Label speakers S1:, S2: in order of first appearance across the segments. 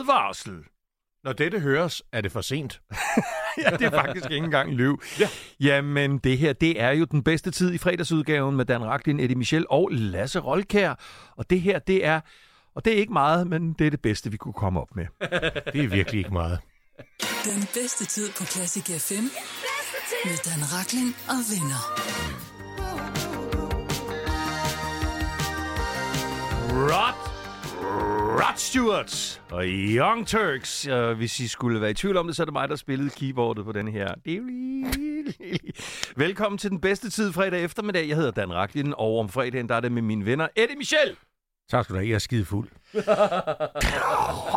S1: Advarsel. Når dette høres, er det for sent. ja, det er faktisk ikke engang løv. Ja. Jamen, det her, det er jo den bedste tid i fredagsudgaven med Dan Raklin, Eddie Michel og Lasse Rolkær. Og det her, det er, og det er ikke meget, men det er det bedste, vi kunne komme op med.
S2: Det er virkelig ikke meget.
S3: Den bedste tid på Classic FM med Dan Rakling og venner.
S1: Rod, Rod Stewart og Young Turks. Og hvis I skulle være i tvivl om det, så er det mig, der spillede keyboardet på den her. Velkommen til den bedste tid fredag eftermiddag. Jeg hedder Dan Raklin, og om fredagen der er det med mine venner Eddie Michel.
S2: Tak skal du have. Jeg er skide fuld.
S1: Åh,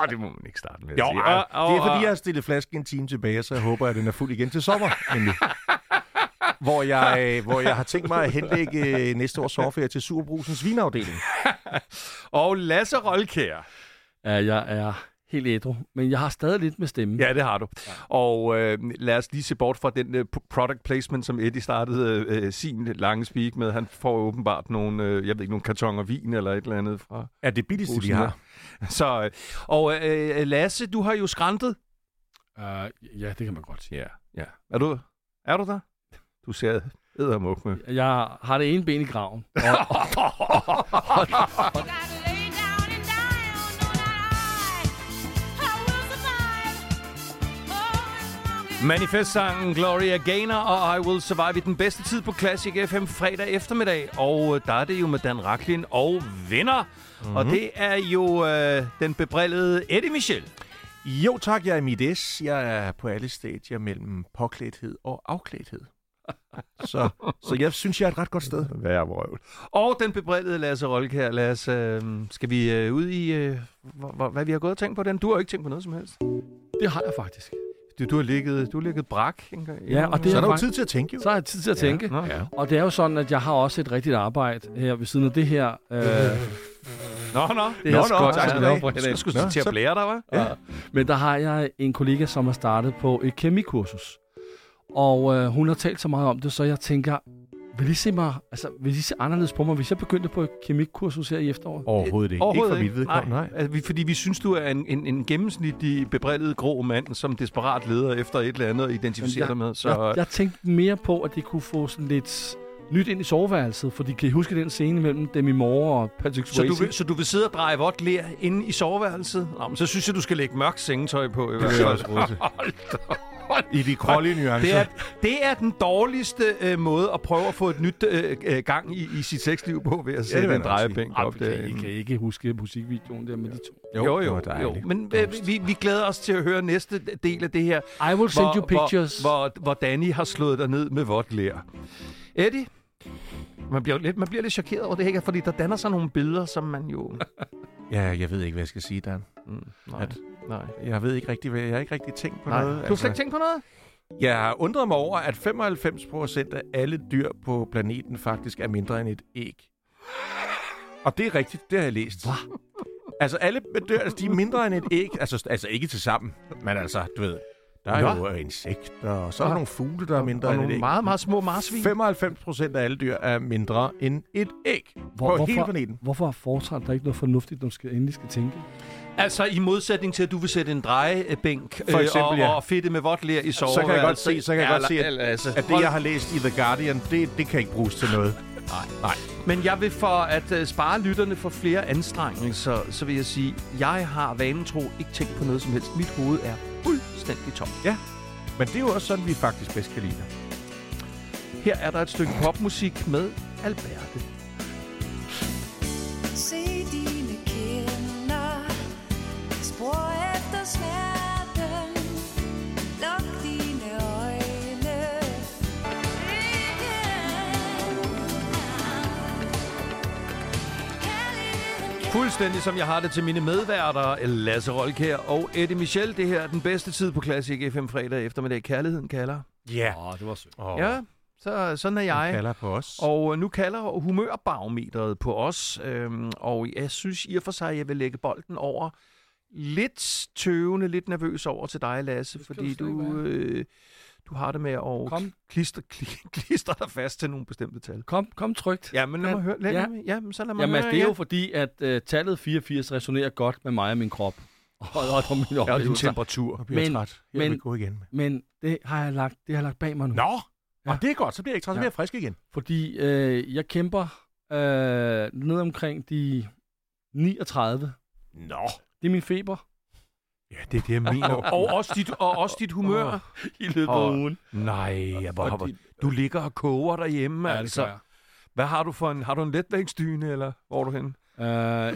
S1: det må man ikke starte med at
S2: Jo,
S1: sige.
S2: ej,
S1: Og-
S2: det er
S1: og-
S2: fordi, jeg har stillet flasken en time tilbage, så jeg håber, at den er fuld igen til sommer. Nemlig. Hvor jeg, øh, hvor jeg har tænkt mig at henlægge øh, næste års sommerferie til Superbrusens vinafdeling.
S1: Og Lasse Rolkær.
S4: Ja, jeg er helt ædru, men jeg har stadig lidt med stemmen.
S1: Ja, det har du. Og øh, lad os lige se bort fra den øh, product placement, som Eddie startede øh, sin lange speak med. Han får åbenbart nogle, øh, jeg ved ikke, nogle kartonger vin eller et eller andet fra
S2: Er det billigste,
S1: posen her. Så, øh, og øh, Lasse, du har jo skrantet.
S4: Uh, ja, det kan man godt sige.
S1: Ja, ja. Er du, er du der? Du ser eddermuk med.
S4: Jeg har det ene ben i graven.
S1: Manifestsangen Gloria Gaynor og I Will Survive i den bedste tid på Classic FM fredag eftermiddag. Og øh, der er det jo med Dan Raklin og venner. Mm-hmm. Og det er jo øh, den bebrillede Eddie Michel.
S2: Jo tak, jeg er i mit S. Jeg er på alle stadier mellem påklædthed og afklædthed. Så, så jeg synes, jeg er et ret godt sted.
S1: Hver vrøvl. Og den bebrillede Lasse Rolkær. Lasse, øh, skal vi øh, ud i, øh, hvor, hvor, hvad vi har gået og tænkt på den? Du har jo ikke tænkt på noget som helst.
S4: Det har jeg faktisk.
S1: Du, du har ligget, du har ligget brak. En gang,
S4: Ja, og det
S2: Så er der jo
S4: fakt-
S2: tid til at tænke, jo.
S4: Så har jeg tid til at tænke.
S1: Nå, ja.
S4: Og det er jo sådan, at jeg har også et rigtigt arbejde her ved siden af det her. Øh,
S1: Nå, nå.
S4: Det
S1: nå,
S4: er
S1: nå,
S4: skønt.
S1: tak skal du have.
S2: Nå,
S1: Jeg skulle
S2: så-
S1: til at blære dig, hva'?
S4: ja. Men der har jeg en kollega, som har startet på et kemikursus. Og øh, hun har talt så meget om det, så jeg tænker, vil I se mig, altså, vil I se anderledes på mig, hvis jeg begyndte på et kemikursus her i efteråret?
S2: Overhovedet ikke. Ikke for mit vedkommende, nej.
S1: Altså, vi, fordi vi synes, du er en, en, en gennemsnitlig, bebrillet grå mand, som desperat leder efter et eller andet og identificerer dig med. Så, øh,
S4: Jeg, jeg tænkte mere på, at det kunne få sådan lidt nyt ind i soveværelset, fordi kan I huske den scene mellem Demi Moore og Patrick
S1: så,
S4: Swayze?
S1: du vil, så du vil sidde og dreje vådt lær inde i soveværelset? Nå, men så synes jeg, du skal lægge mørkt sengetøj på. i hvert fald.
S2: I de krollige nuancer.
S1: Det er, det er den dårligste øh, måde at prøve at få et nyt øh, øh, gang i, i sit sexliv på, ved at
S2: det
S1: sætte
S2: vil
S1: ja, en
S2: jeg nok sige.
S1: drejebænk
S4: Ej,
S1: op
S4: vi kan, I
S1: derinde.
S4: kan ikke huske musikvideoen der med de to.
S1: Jo, jo, jo.
S2: det var
S1: jo.
S2: dejligt.
S1: Men øh, vi, vi glæder os til at høre næste del af det her.
S4: I will send you pictures.
S1: Hvor, hvor, hvor Danny har slået dig ned med vådt lær. Eddie? Man bliver, jo lidt, man bliver lidt chokeret over det her, fordi der danner sig nogle billeder, som man jo...
S2: Ja, jeg ved ikke, hvad jeg skal sige, Dan.
S1: Mm, nej,
S2: At-
S1: nej,
S2: Jeg ved ikke rigtig, hvad jeg har ikke rigtig tænkt på
S1: nej.
S2: noget. altså-
S1: Du har slet ikke tænkt på noget?
S2: Jeg har undret mig over, at 95 procent af alle dyr på planeten faktisk er mindre end et æg. Og det er rigtigt, det har jeg læst. Hva? Altså, alle dyr, altså, de er mindre end et æg. Altså, altså ikke til sammen, men altså, du ved. Der er
S1: Nå.
S2: jo insekter, og så er der nogle fugle, der er mindre
S1: Og
S2: end et
S1: nogle
S2: æg.
S1: meget, meget små marsvin.
S2: 95 procent af alle dyr er mindre end et æg på hele planeten.
S4: Hvorfor foretræder der ikke noget fornuftigt, når du skal, endelig skal tænke?
S1: Altså i modsætning til, at du vil sætte en drejebænk øh,
S2: For eksempel,
S1: og,
S2: ja.
S1: og fedte med vådt lær i soveværelset.
S2: Så kan jeg godt se, så kan jeg godt se,
S1: Eller-
S2: at,
S1: altså,
S2: at det, jeg har læst i The Guardian, det, det kan ikke bruges til noget.
S1: Men jeg vil for at øh, spare lytterne for flere anstrengelser, så vil jeg sige, jeg har vanen tro ikke tænkt på noget som helst. Mit hoved er fuldstændig tomt.
S2: Men det er jo også sådan, vi faktisk bedst kan lide det.
S1: Her er der et stykke popmusik med Alberte.
S5: Se dine kinder, spor efter smerten. Luk dine øjne. Igen. Kærligheden
S1: Fuldstændig som jeg har det til mine medværter, Lasse Rolkær og Eddie Michel. Det her er den bedste tid på Classic FM fredag eftermiddag. Kærligheden kalder.
S2: Ja.
S4: Åh, det var sødt.
S2: Oh.
S1: Ja, så, sådan er jeg.
S2: kalder på os.
S1: Og øh, nu kalder humørbarometeret på os, øhm, og jeg synes i og for sig, at jeg vil lægge bolden over lidt tøvende, lidt nervøs over til dig, Lasse,
S4: Det skal
S1: fordi
S4: du slet ikke
S1: du, øh, du har det med at
S4: Kom.
S1: klister, kli- klister dig fast til nogle bestemte tal.
S4: Kom, kom trygt.
S1: Ja, men lad
S4: Ja,
S1: mig høre. Lad,
S4: ja.
S1: ja. Jamen, så lad mig
S4: Jamen,
S1: høre.
S4: altså, det er jo fordi, at øh, tallet 84 resonerer godt med mig og min krop. Hold op på mine
S1: Ja, og din
S4: oplevelser.
S1: temperatur.
S6: bliver
S4: Men-
S6: men, træt. Her men,
S4: men-
S6: vi gå igen.
S4: Men det har jeg lagt, det har jeg lagt bag mig nu.
S6: Nå, ja.
S4: Ja.
S6: og det er godt. Så bliver jeg ikke træt, så
S4: Ja.
S6: bliver jeg frisk igen.
S4: Fordi øh, jeg kæmper øh, ned omkring de 39.
S6: Nå.
S4: Det er min feber
S1: Ja, det er det, jeg mener. og, også dit, og også dit humør.
S4: i løbet
S1: af
S4: af ugen.
S1: Nej, jeg bare,
S6: Og dit-
S1: du ligger og koger derhjemme,
S4: Ja, det gør
S1: altså.
S4: jeg.
S1: Hvad har du for en, har du en letvægtsdyne, eller hvor er du henne?
S4: Øh,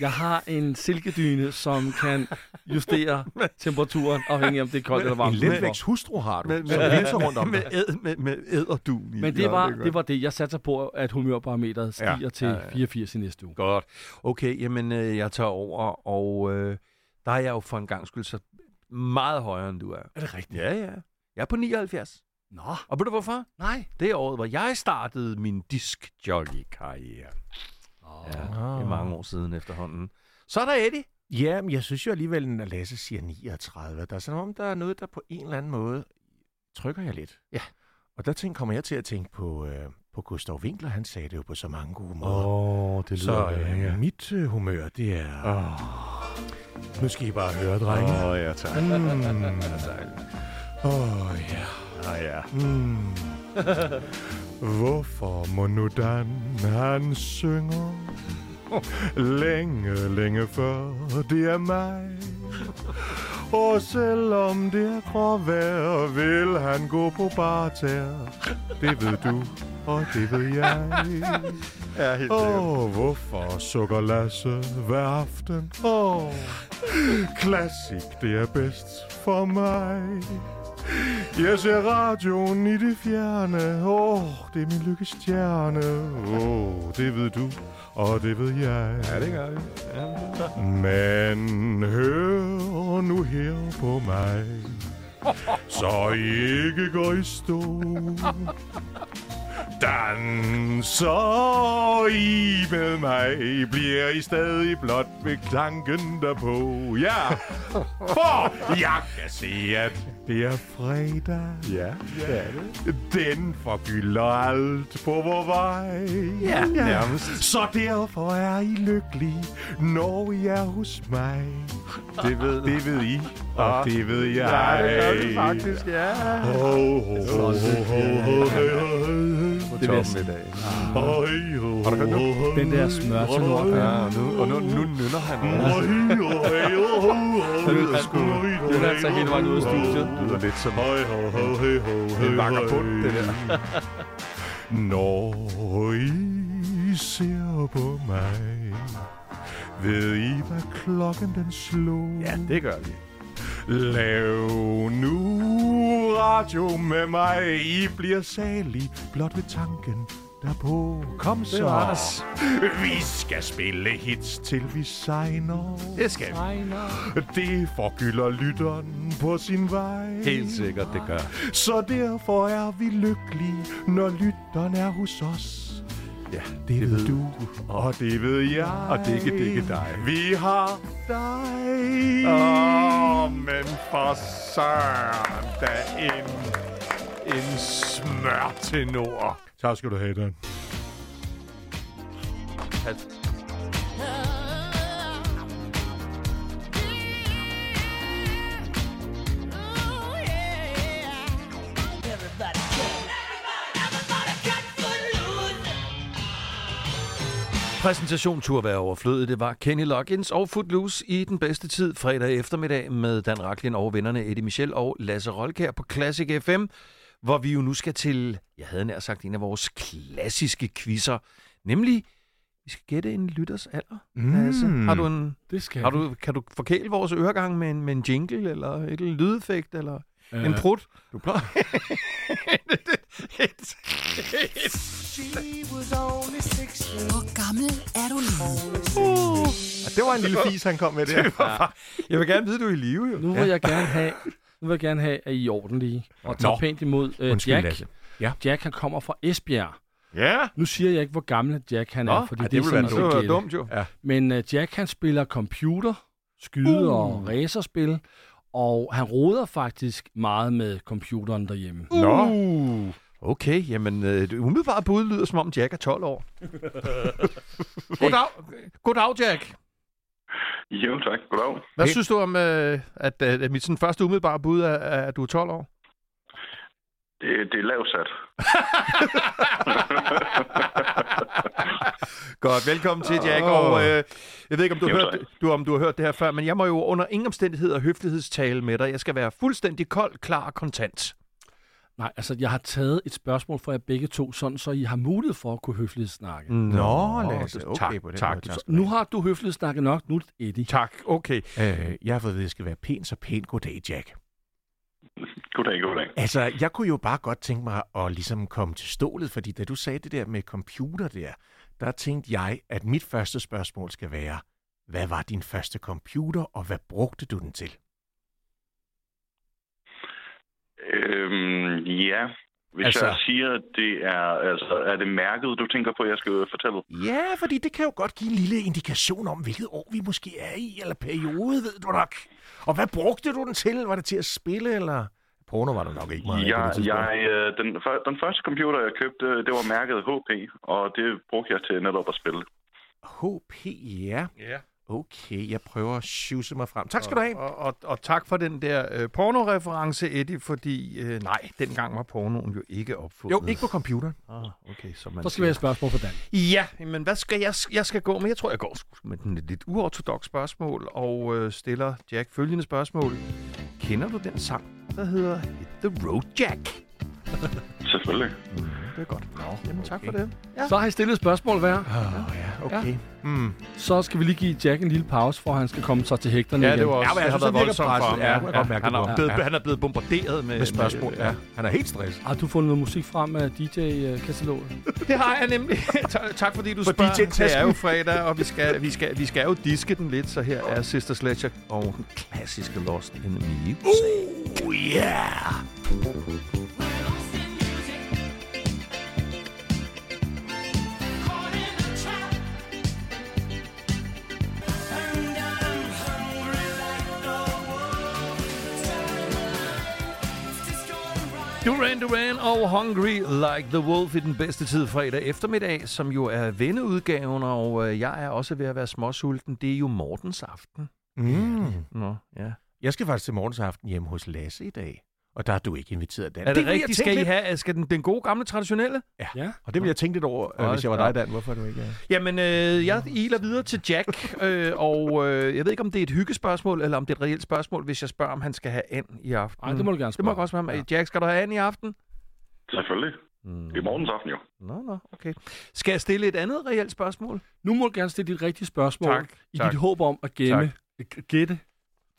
S4: jeg har en silkedyne, som kan justere temperaturen, afhængig af, om det er koldt eller varmt.
S6: En letvægts hustru har du, som hilser rundt om
S1: med,
S6: dig.
S1: æd, med, med æderdun i.
S4: Men det var, det var det. Jeg satser på, at humørparametret stiger ja, til
S1: ja, ja.
S4: 84 i næste uge.
S1: Godt. Okay, jamen øh, jeg tager over, og øh, der er jeg jo for en gang skyld så meget højere, end du er.
S6: Er det rigtigt?
S1: Ja, ja. Jeg er på 79.
S4: Nå,
S1: Og ved du hvorfor?
S4: nej.
S1: Det er året, hvor jeg startede min disc-jockey-karriere.
S4: Oh.
S1: Ja,
S4: Ja.
S1: det er mange år siden efterhånden. Så er der Eddie.
S6: Ja, men jeg synes jo alligevel, når Lasse siger 39, der er sådan om, der er noget, der på en eller anden måde trykker jeg lidt.
S1: Ja.
S6: Og der tænker, kommer jeg til at tænke på, øh, på Gustav Winkler, han sagde det jo på så mange gode måder.
S1: Åh, oh, det
S6: så øh, ja. mit øh, humør, det er... Oh. Nu skal I bare høre, drenge. Åh, oh, ja, tak. Mm. Åh, oh, ja.
S1: Ah, ja.
S6: Mm. Hvorfor må nu Dan, han synger Længe, længe før det er mig Og selvom det er gråvejr Vil han gå på barter Det ved du, og det ved jeg
S1: Ja, helt
S6: Åh, oh, hvorfor sukker Lasse hver aften? Åh, oh, klassik, det er bedst for mig. Jeg ser radioen i det fjerne. Åh, oh, det er min lykkestjerne. Åh, oh, det ved du, og det ved jeg.
S1: Ja, det gør vi. Ja.
S6: Men hør nu her på mig, så I ikke går i stå. Danser I med mig, bliver I stadig blot ved tanken derpå. Ja, for jeg kan se, at det er fredag. Ja, det er det. Den forgylder alt på vor vej.
S1: Ja, nærmest.
S6: Så derfor er I lykkelige, når I er hos mig.
S1: Det ved
S6: Det ved I, og det ved jeg.
S1: ja.
S6: Ho, ho, ho, ho, ho, ho, ho,
S1: Det vil jeg sige.
S6: ho. Har du hørt nu?
S4: Den der smør til lort.
S1: Ja,
S6: Ah,
S1: og nu, og nu, nu nynner han.
S6: Det lyder sgu.
S4: Det er altså hele vejen ud af studiet.
S1: Det lyder lidt som...
S6: Hej, ho, ho, hey, ho,
S1: Det er en
S6: hey,
S1: vagabond,
S6: hey.
S1: det der.
S6: Når I ser på mig, ved I, hvad klokken den slog?
S1: Ja, det gør vi.
S6: Lav nu radio med mig. I bliver salig blot ved tanken derpå. Kom så.
S1: Anders.
S6: Vi skal spille hits, til vi signer.
S1: Det skal vi.
S6: Det forgylder lytteren på sin vej.
S1: Helt sikkert, det gør.
S6: Så derfor er vi lykkelige, når lytteren er hos os.
S1: Ja,
S6: Det, det ved du, og det ved jeg.
S1: Og det er ikke- det er ikke dig.
S6: Vi har dig. Åh, oh, men for søren da en, en smørtenor. Tak skal du have, Dan.
S1: Præsentation turde være overflødig. Det var Kenny Loggins og Footloose i den bedste tid fredag eftermiddag med Dan Raklin og vennerne Eddie Michel og Lasse Rolkær på Classic FM, hvor vi jo nu skal til, jeg havde nær sagt, en af vores klassiske quizzer, nemlig, vi skal gætte en lytters alder.
S6: Mm.
S1: Lasse, har du en,
S4: Det skal
S1: har du, kan du forkæle vores øregang med en, med en jingle eller et lydeffekt eller
S4: jeg.
S1: en
S4: Øh,
S1: prut?
S6: Du plejer.
S3: Hvor gammel er du nu?
S6: Ja, det var en lille fis, han kom med der.
S1: Jeg vil gerne vide, du er i live, jo.
S4: Nu vil jeg gerne have, nu vil jeg gerne have at I er ordentlige og tager
S6: Nå.
S4: pænt imod uh,
S6: Undskyld,
S4: Jack.
S6: Lasse. Ja.
S4: Jack, han kommer fra Esbjerg.
S6: Ja.
S4: Nu siger jeg ikke, hvor gammel Jack han er, fordi
S6: ej,
S4: det,
S6: det
S4: det er
S6: ville
S4: sådan,
S6: være
S1: Det
S4: man
S1: var
S4: skal
S1: dumt, jo.
S4: Men uh, Jack, han spiller computer, skyde uh.
S1: Mm.
S4: og racerspil, og han roder faktisk meget med computeren derhjemme. Uh.
S6: Nå.
S1: Uh. Okay, jamen øh, det umiddelbare bud lyder som om Jack er 12 år. Goddag, Goddag Jack.
S7: Jo, tak. Goddag.
S1: Hvad
S2: Helt-
S1: synes du om, øh, at, øh, at mit sådan, første umiddelbare bud er, er, at du er 12 år?
S7: Det, det er lavsat.
S1: Godt, velkommen til, Jack. Og, øh, jeg ved ikke, om du har,
S7: Jo,
S1: hørt,
S7: tak.
S1: du, om du har hørt det her før, men jeg må jo under ingen omstændigheder høflighedstale med dig. Jeg skal være fuldstændig kold, klar og kontant.
S4: Nej, altså jeg har taget et spørgsmål fra jer begge to, sådan så I har mulighed for at kunne høfligt snakke. Mm.
S2: Nå,
S1: Lasse, okay
S2: tak,
S1: på den
S2: tak.
S1: måde, tak.
S4: Nu har du høfligt snakket nok, nu er det Eddie.
S1: Tak, okay.
S2: Øh, jeg har fået at vide, at det skal være pænt, så pænt goddag, Jack.
S7: Goddag, goddag.
S2: Altså, jeg kunne jo bare godt tænke mig at ligesom komme til stålet, fordi da du sagde det der med computer der, der tænkte jeg, at mit første spørgsmål skal være, hvad var din første computer, og hvad brugte du den til?
S7: Øhm, ja, hvis
S2: Altså-
S7: altså... jeg siger, at det er... Altså, er det mærket, du tænker på, jeg skal fortælle?
S2: Ja, fordi det kan jo godt give en lille indikation om, hvilket år vi måske er i, eller periode, ved du nok. Og hvad brugte du den til? Var det til at spille, eller... Porno var der nok ikke meget af på
S7: Jeg,
S2: det tidspunkt.
S7: jeg, øh, den, før, den første computer, jeg købte, det var mærket HP, og det brugte jeg til netop at spille.
S2: HP, ja.
S1: Ja.
S2: Okay, jeg prøver at sjuse mig frem. Tak skal du have.
S1: Og, og, og tak for den der øh, pornoreference, Eddie, fordi øh, nej, dengang var pornoen jo ikke opfundet.
S2: Jo, ikke på computer.
S1: Ah, okay, så man
S4: Så skal vi have et spørgsmål fra Dan.
S1: Ja, men hvad skal jeg, jeg skal gå med? Jeg tror, jeg går sgu med den lidt uortodox spørgsmål, og øh, stiller Jack følgende spørgsmål. Kender du den sang, der hedder Hit the Road Jack?
S7: Selvfølgelig.
S1: Det er godt. Nå, Jamen, tak for det.
S4: Så har I stillet et spørgsmål hver.
S2: Åh, oh, ja, okay.
S1: Mm.
S4: Så skal vi lige give Jack en lille pause, for han skal komme sig til hægterne igen.
S1: også,
S2: men altså, så virker presset. Ja, jeg kan godt mærke
S1: han,
S2: det på
S1: er
S2: ham.
S1: blevet, han er blevet bombarderet med,
S2: Med spørgsmål, ja. Han er helt stresset.
S4: Har du fundet noget musik frem af øh, DJ-kataloget?
S1: Det har jeg nemlig. Tak- tak fordi du
S2: For
S1: spørger.
S2: DJ-tasken.
S1: Det er jo fredag, og vi skal, vi, skal, vi skal jo diske den lidt, så her er Sister Sledger og den klassiske Lost in the Music.
S2: Oh, yeah!
S1: Duran Duran og Hungry Like the Wolf i den bedste tid fredag eftermiddag, som jo er vendeudgaven, og øh, jeg er også ved at være småsulten. Det er jo Mortens aften.
S2: Mm.
S1: Nå, ja.
S2: Jeg skal faktisk til morgensaften hjemme hos Lasse i dag. Og der er du ikke inviteret, Dan.
S1: Er det,
S2: ville jeg
S1: rigtigt?
S2: tænke
S1: Skal I
S2: lidt-
S1: have øh, skal den, den gode gamle traditionelle?
S4: Ja.
S2: Og det vil jeg tænke lidt over, øh,
S1: Hold
S2: hvis jeg var
S1: da
S2: dig,
S1: op.
S2: Dan. Hvorfor er du ikke er?
S1: Jamen, øh, jeg iler videre til Jack, øh, og øh, jeg ved ikke, om det er et hyggespørgsmål, eller om det er et reelt spørgsmål, hvis jeg spørger, om han skal have and i aften.
S4: Ej, det må
S1: Mm.
S4: du gerne
S1: det må
S4: spørge.
S1: jeg også være med. Øh, Jack, skal du have and i aften?
S7: Selvfølgelig. Mm. I morgens aften jo.
S1: Nå, nå, okay. Skal jeg stille et andet reelt spørgsmål?
S4: Nu må du gerne stille dit rigtige spørgsmål,
S1: Tak,
S4: i
S1: tak.
S4: dit håb om at gemme, gætte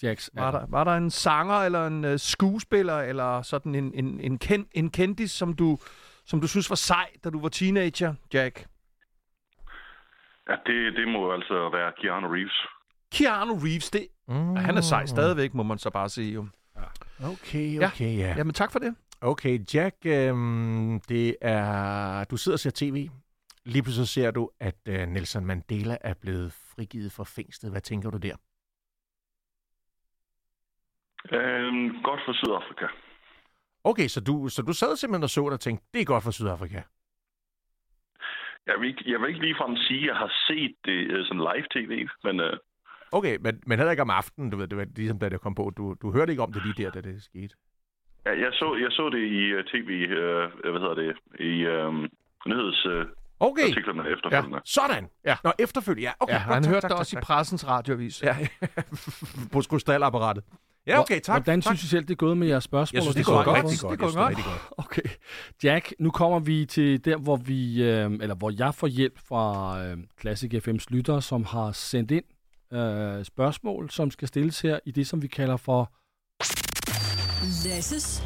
S4: Jacks
S1: Var
S4: alder.
S1: der, var der en sanger eller en øh, skuespiller eller sådan en, en, en, ken, en kendis, som du, som du synes var sej, da du var teenager, Jack?
S7: Ja, det, det må altså være Keanu Reeves.
S1: Keanu Reeves, det, mm. han er sej stadigvæk, må man så bare sige. Jo.
S2: Okay,
S1: Ja.
S2: okay, ja.
S1: Jamen tak for det.
S2: Okay, Jack, øh, det er... Du sidder og ser tv. Lige pludselig ser du, at øh, Nelson Mandela er blevet frigivet fra fængslet. Hvad tænker du der?
S7: Øhm, godt for Sydafrika.
S2: Okay, så du, så du sad simpelthen og så det og tænkte, det er godt for Sydafrika.
S7: Jeg vil, ikke, jeg vil ikke ligefrem sige, at jeg har set det øh, sådan live-tv, men øh,
S2: Okay, men, men heller ikke om aftenen, du ved, det var ligesom da det kom på. Du, du hørte ikke om det lige der, da det skete.
S7: ja, jeg, så, jeg så det i øh, tv, øh, hvad hedder det, i øh, nyhedsartiklerne
S2: Okay,
S7: øh, efterfølgende.
S2: sådan. Ja. Nå, efterfølgende, ja. Okay,
S1: Ja,
S2: godt,
S1: han
S2: tak,
S1: hørte
S2: tak,
S1: det
S2: tak,
S1: også
S2: tak.
S1: i pressens radioavis.
S2: Ja, på skrustalapparatet. Ja, okay, tak.
S4: Hvordan
S2: tak.
S4: synes I selv, det er gået med jeres spørgsmål?
S2: jeg synes,
S4: og
S2: det
S4: svar,
S2: går
S4: I har
S2: godt.
S4: fået?
S2: Rigtig godt.
S1: Det
S2: Det
S1: går godt.
S2: går rigtig godt.
S4: Okay. Jack, nu kommer vi til der, hvor vi øh, eller hvor jeg får hjælp fra øh, Classic FM's lyttere, som har sendt ind øh, spørgsmål, som skal stilles her i det, som vi kalder for...
S3: Lasses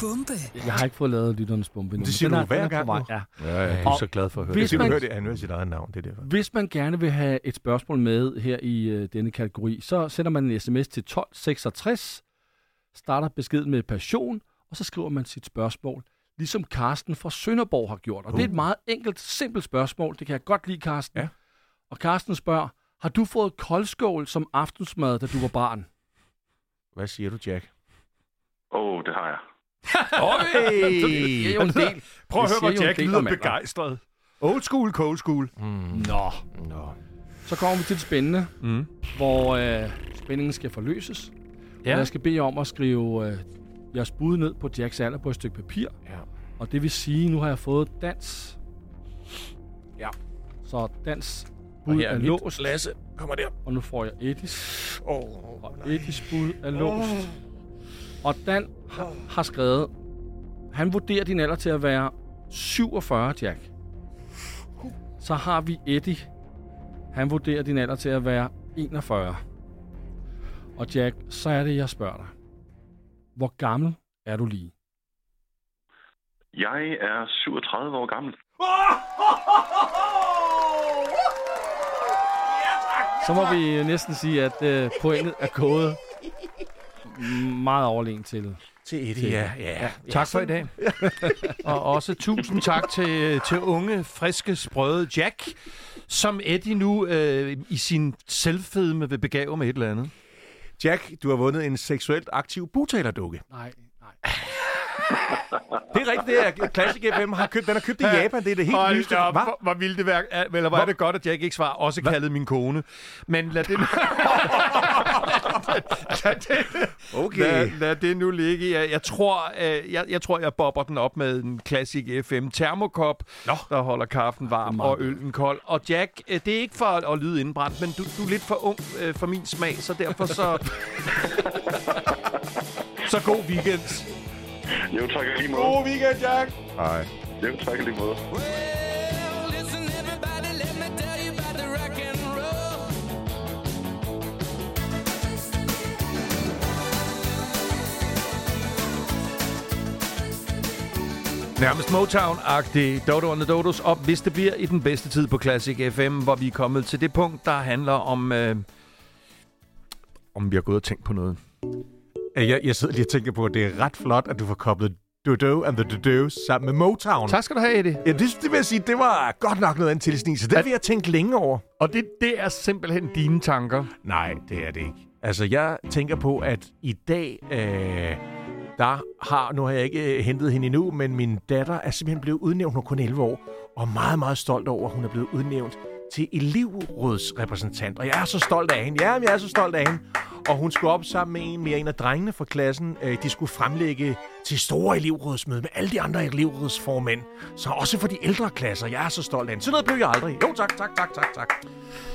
S3: bombe.
S4: Jeg har ikke fået lavet lytternes bombe endnu,
S2: Det
S4: men
S2: siger
S4: den
S2: du
S4: er-
S2: hver
S4: den er på
S2: gang
S4: vej,
S2: nu.
S4: Ja.
S1: Ja, ja, du er
S4: Og
S1: så glad for at høre
S4: hvis
S1: det.
S2: Jeg
S4: man-
S2: kan høre det, han hører sit eget navn, det er derfor.
S4: Hvis man gerne vil have et spørgsmål med her i øh, denne kategori, så sender man en sms til 1266, starter beskeden med passion, og så skriver man sit spørgsmål, ligesom Karsten fra Sønderborg har gjort. Og det er et meget enkelt, simpelt spørgsmål. Det kan jeg godt lide, Karsten.
S2: Ja.
S4: Og Karsten spørger, har du fået koldskål som aftensmad, da du var barn?
S2: Hvad siger du, Jack?
S7: Åh, oh, det har jeg.
S2: Okay.
S4: jo en del.
S1: Prøv at høre,
S4: Det siger jo
S1: hvor
S4: en
S1: Jack
S4: del
S1: lyder
S4: om alderen.
S1: begejstret. Old school, cold school.
S4: Nå.
S2: Nå.
S4: Så kommer vi til det spændende,
S1: Mm.
S4: hvor øh, spændingen skal forløses. Ja.
S1: Ja.
S4: Jeg skal bede jer om at skrive øh, jeres bud ned på Jacks alder på et stykke papir.
S2: Ja.
S4: Og det vil sige, nu har jeg fået dans. Ja. Så dans bud er, er låst,
S2: Lasse, kommer der.
S4: og nu får jeg etisk.
S2: Oh.
S4: Og etisk bud er låst. Og Dan har, har skrevet, han vurderer din alder til at være 47, Jack. Så har vi Eddie. Han vurderer din alder til at være 41. Og Jack, så er det, jeg spørger dig. Hvor gammel er du lige?
S7: Jeg er 37 år gammel.
S4: Så må vi næsten sige, at øh, pointet er gået meget overlegen til.
S2: Til Eddie, ja. ja.
S1: Tak for i dag. og også tusind tak til, til unge, friske, sprøde Jack, som Eddie nu øh, i sin selvfedme vil begave med et eller andet.
S2: Jack, du har vundet en seksuelt aktiv butalerdukke.
S4: Nej, nej.
S2: Det er rigtigt, det er Classic FM har købt. Den har købt i Japan, det er det helt
S1: Hold
S2: nyeste.
S1: da op,
S2: Hva?
S1: hvor, hvor vildt det værk. Eller var det godt, at Jack ikke svarer, også Hva? kaldet min kone. Men lad det nu... lad, det,
S2: Okay.
S1: lad, lad det nu ligge. Jeg, jeg, tror, øh, jeg, jeg tror, jeg bobber den op med en klassik FM termokop, Nå. der holder kaffen varm og øllen kold. Og Jack, øh, det er ikke for at, at lyde indbrændt, men du, du er lidt for ung øh, for min smag, så derfor så... så god weekend.
S7: Jo, tak i lige måde.
S2: weekend, Jack.
S7: Jo, tak i lige måde.
S8: Well, listen, everybody, let me tell you about the rock and roll.
S1: Nærmest Motown-agtig Dodo and the Dodos op, hvis det bliver i den bedste tid på Classic FM, hvor vi er kommet til det punkt, der handler om, øh, om vi har gået og tænkt på noget.
S2: Øh, Jeg, jeg sidder lige og tænker på, at det er ret flot, at du får koblet Dodo and the Dodo sammen med Motown.
S1: Tak skal du have, Eddie.
S2: Ja, det, det vil jeg sige, det var godt nok noget af en tilsnigelse. Det vil jeg tænke længe over.
S1: Og det, det er simpelthen dine tanker.
S2: Nej, det er det ikke. Altså, jeg tænker på, at i dag, øh, der har, nu har jeg ikke øh, hentet hende endnu, men min datter er simpelthen blevet udnævnt, hun er kun 11 år, og er meget, meget stolt over, at hun er blevet udnævnt til elevrådsrepræsentant. Og jeg er så stolt af hende. Ja, jeg er så stolt af hende. Og hun skulle op sammen med en, med en af drengene fra klassen. Øh, de skulle fremlægge til store elevrådsmøde med alle de andre elevrådsformænd. Så også for de ældre klasser. Jeg er så stolt af hende. Sådan noget blev jeg aldrig. Jo, tak, tak, tak, tak, tak.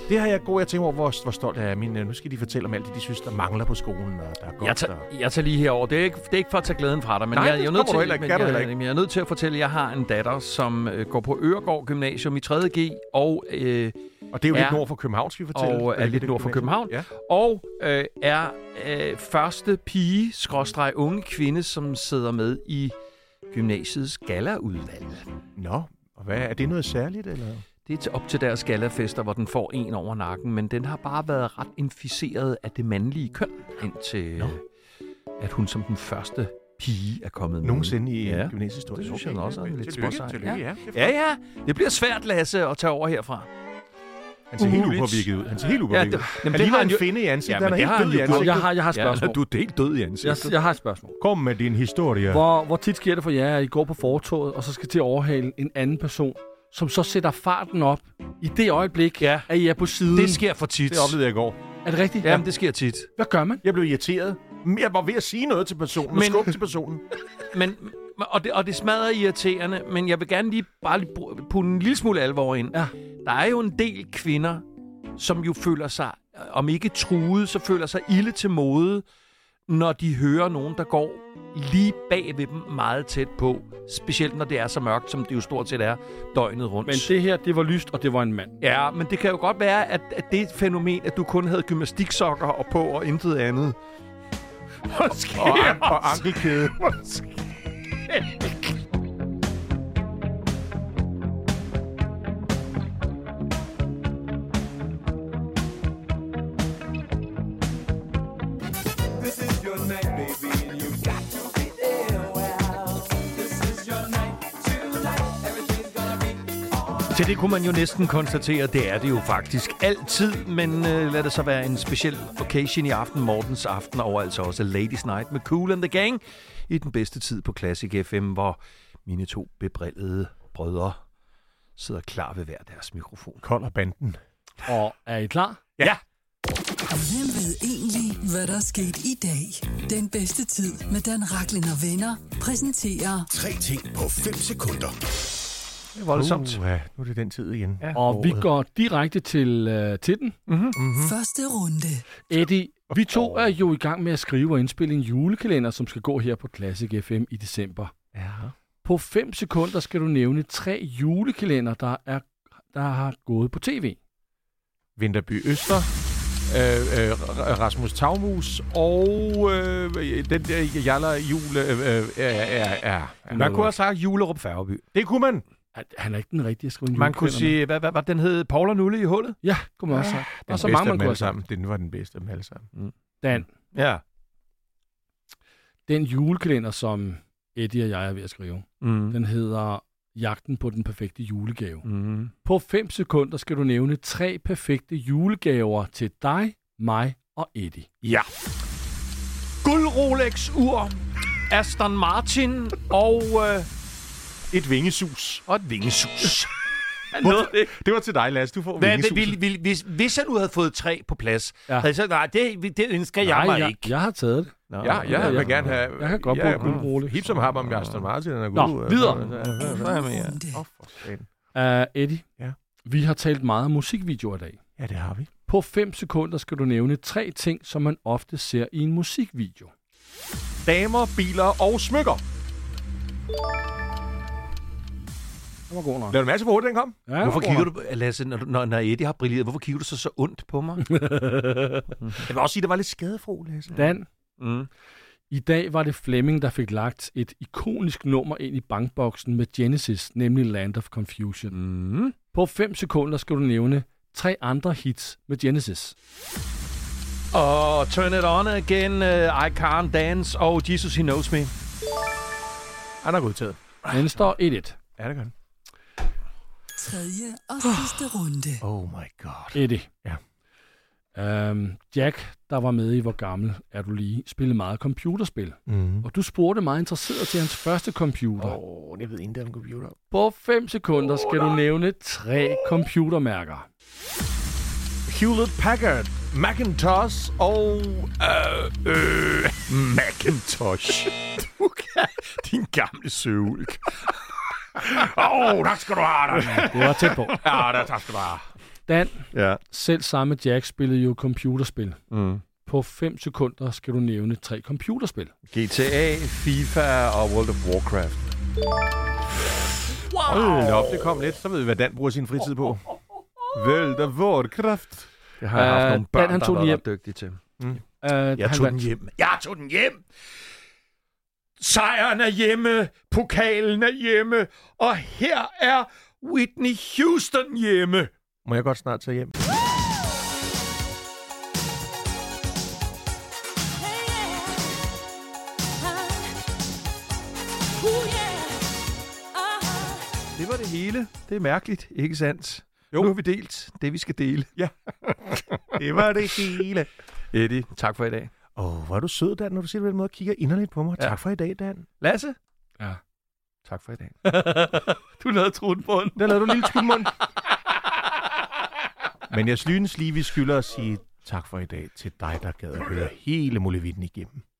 S2: Det har jeg god. Jeg tænker over, hvor, hvor stolt jeg er. Min, øh, nu skal de fortælle om alt det, de synes, der mangler på skolen. Og der er godt,
S1: Jeg
S2: og...
S1: tager, jeg tager lige herover. Det er, ikke, det er ikke for at tage glæden fra dig, men
S2: Nej,
S1: jeg,
S2: det
S1: jeg, er
S2: kommer
S1: nødt
S2: du
S1: til,
S2: heller ikke.
S1: men
S2: Kan du
S1: jeg,
S2: heller ikke.
S1: jeg er nødt til at fortælle, at jeg har en datter, som øh, går på Øregård Gymnasium i 3.G, og, øh,
S2: Og det er jo ja. lidt
S1: Ja.
S2: nord for København, skal vi fortælle.
S1: og er
S2: Hvilket
S1: lidt nord for København,
S2: Ja.
S1: og øh, er øh, første pige, skråstreg unge kvinde, som sidder med i gymnasiets galaudvalg.
S2: Nå, og hvad, er det noget særligt? Eller?
S1: Det er til op til deres galafester, hvor den får en over nakken, men den har bare været ret inficeret af det mandlige køn, indtil
S2: Nå.
S1: no. at hun som den første pige er kommet med.
S2: Nogensinde i
S1: Ja.
S2: ja. gymnasiehistorien.
S1: Det synes jeg da også er lidt
S2: tillykke,
S1: småsejt.
S2: tillykke, ja.
S1: Ja, ja. Det bliver svært, Lasse, at tage over herfra.
S2: Han ser helt
S1: Uhuligt.
S2: upåvirket ud. Han ser helt upåvirket
S1: Uhuh. det-
S2: ud.
S1: jamen,
S2: Han
S1: det
S2: ligner
S1: har han
S2: en
S1: jo-
S2: finde i ansigtet.
S1: Jamen,
S2: han er
S1: det har
S2: helt død
S1: han
S2: i
S1: jo
S2: ansigtet. Altså,
S4: Jeg har, jeg har et spørgsmål.
S1: er helt død i
S4: Jeg, jeg har et spørgsmål.
S2: Kom med din historie.
S4: Hvor, hvor tit sker det for jer, at I går på fortoget, og så skal til at overhale en anden person, som så sætter farten op i det øjeblik, ja. Mm.
S1: Ja.
S4: at I er på siden?
S1: Det sker for tit.
S2: Det oplevede jeg i går.
S4: Er det rigtigt?
S1: Jamen, det sker tit.
S4: Hvad gør man?
S2: Jeg blev irriteret. Men Jeg var ved at sige noget til personen. Men...
S1: Men-
S2: Skub til personen.
S1: Men, og, det, og det smadrer irriterende, men jeg vil gerne lige bare lige br- putte en lille smule alvor ind.
S4: Ja.
S1: Der er jo en del kvinder, som jo føler sig, øh, om ikke truet, så føler sig ilde til mode, når de hører nogen, der går lige bag ved dem meget tæt på. Specielt når det er så mørkt, som det jo stort set er døgnet rundt.
S4: Men det her, det var lyst, og det var en mand.
S1: Ja, men det kan jo godt være, at, at det er et fænomen, at du kun havde gymnastiksokker og på og intet andet. Måske
S2: Og, an- og ankelkæde.
S1: Til det kunne man jo næsten konstatere, det er det jo faktisk altid, men øh, lad det så være en speciel occasion i aften, Mortens aften, og altså også Ladies Night med Cool and the Gang i den bedste tid på Classic FM, hvor mine to bebrillede brødre sidder klar ved hver deres mikrofon.
S2: Kold og banden.
S4: Og er I klar?
S2: Ja.
S3: Hvem ved egentlig, hvad der er sket i dag? Den bedste tid med Dan Rakling og venner præsenterer
S9: Tre ting på 5 sekunder.
S1: Det er voldsomt.
S2: Uh, nu er det den tid igen. Ja.
S4: Og vi går direkte til, øh, til den.
S3: mm. første runde.
S4: Eddie, vi to er jo i gang med at skrive og indspille en julekalender, som skal gå her på Classic FM i december.
S2: ja.
S4: På 5 sekunder skal du nævne tre julekalender, der, er, der har gået på tv.
S2: Vinterby Øster, øh, øh, R- Rasmus Tavmus og øh, den der Jaller Jule... Øh, øh, ja, ja, ja.
S1: Man kunne have sagt Julerup Færgeby.
S2: Det kunne man.
S4: Han- Han er ikke den rigtige at skrive en
S1: Man kunne
S4: julekalender
S1: sige, hvad, hvad, hvad den hed? Paul og Nulle i hullet?
S4: med. Ja, kunne man også sige. Der er
S2: Den bedste
S4: så mange,
S2: af
S4: man
S2: dem
S4: kunne
S2: alle
S4: have sagt.
S2: sammen. Den var den bedste af dem alle sammen.
S4: Dan,
S1: Ja.
S4: den julekalender, som Eddie og jeg er ved at skrive,
S1: Mm.
S4: den hedder Jagten på den perfekte julegave.
S1: Mm.
S4: På 5 sekunder skal du nævne tre perfekte julegaver til dig, mig og Eddie.
S1: Ja. Guld Rolex-ur, Aston Martin og, øh,
S2: Et vingesus.
S1: og et vingesus.
S2: Det, det var til dig, Lasse. Du får
S1: Hvad,
S2: vingesus.
S1: vil, vil, hvis, hvis jeg nu havde fået tre på plads,
S4: Ja.
S1: ja. havde jeg sagt, nej, det, det ønsker jeg
S4: Nej,
S1: mig
S4: jeg,
S1: ikke.
S4: jeg har taget det.
S1: Nå,
S2: Ja, ja, jeg vil gerne have...
S4: Jeg kan godt
S2: ja, mm.
S4: bruge Guld Rolex.
S2: Hip som ham om Aston Martin. Den er
S4: Nå,
S2: god.
S4: videre.
S3: Runde.
S2: Åh, for fanden.
S4: Uh, Eddie,
S2: Ja.
S4: vi har talt meget om musikvideoer i dag.
S2: Ja, det har vi.
S4: På 5 sekunder skal du nævne tre ting, som man ofte ser i en musikvideo.
S2: Damer, biler og smykker.
S4: Det var god nok.
S2: Lad du masse på hovedet, den kom?
S4: Ja,
S1: Hvorfor
S4: god
S1: kigger
S4: nok.
S1: du, Lasse, når, når, når Eddie har brilleret, hvorfor kigger du så så ondt på mig? jeg vil også sige, at det var lidt skadefro, Lasse.
S4: Dan,
S1: Mm.
S4: i dag var det Flemming, der fik lagt et ikonisk nummer ind i bankboksen med Genesis, nemlig Land of Confusion.
S1: Mm.
S4: På 5 sekunder skal du nævne tre andre hits med Genesis.
S1: Og Turn It On Again, uh, I Can't Dance og Jesus He Knows Me.
S2: Han har godtaget.
S4: Den står 1-1.
S2: Ja, det gør han.
S3: Tredje og sidste runde.
S2: Oh my god.
S4: Eddie.
S2: Ja.
S4: Øhm, Jack, der var med i Hvor gammel er du lige, spillede meget computerspil.
S1: Mhm.
S2: Mm.
S4: Og du spurgte meget interesseret til hans første computer. Oh.
S2: Åh, oh, jeg ved intet om computer.
S4: På 5 sekunder skal du nævne tre computermærker.
S2: Hewlett Packard, Macintosh og... Øh, øh, Macintosh. du kan... Din gamle søvulk. Åh, oh, tak skal du have dig.
S4: Det var tæt på.
S2: Ja, der, tak skal du have.
S4: Dan,
S1: Ja.
S4: selv samme Jack spillede jo computerspil.
S1: Mm.
S4: På 5 sekunder skal du nævne tre computerspil.
S1: GTA, FIFA og World of Warcraft.
S2: Hold op, det kom lidt. Så ved vi, hvad Dan bruger sin fritid på. Vel, der var kraft.
S1: Det har jeg haft
S4: Øh,
S1: nogle børn,
S4: Dan, han
S1: der
S4: tog
S1: har
S4: den
S1: været ret dygtige til.
S4: Uh,
S1: Jeg tog den hjem. Jeg tog den hjem! Sejren er hjemme, pokalen er hjemme, og her er Whitney Houston hjemme.
S2: Må jeg godt snart tage hjem?
S5: Uh-huh.
S1: Det var det hele. Det er mærkeligt, ikke sandt?
S2: Jo.
S1: Jo. Nu har vi delt det, vi skal dele.
S2: Ja.
S1: det var det hele. Eddie, tak for i dag.
S2: Åh, oh, hvor er du sød, Dan, når du siger det på den måde og kigger inderligt på mig. Ja. Tak for i dag, Dan.
S1: Lasse?
S4: Ja.
S1: Tak for i dag.
S4: Du lavede truen på den.
S2: Der lavede du en lille skudmund. Men jeg synes lige, vi skylder at sige tak for i dag til dig, der gad at høre hele Mulevitten igennem.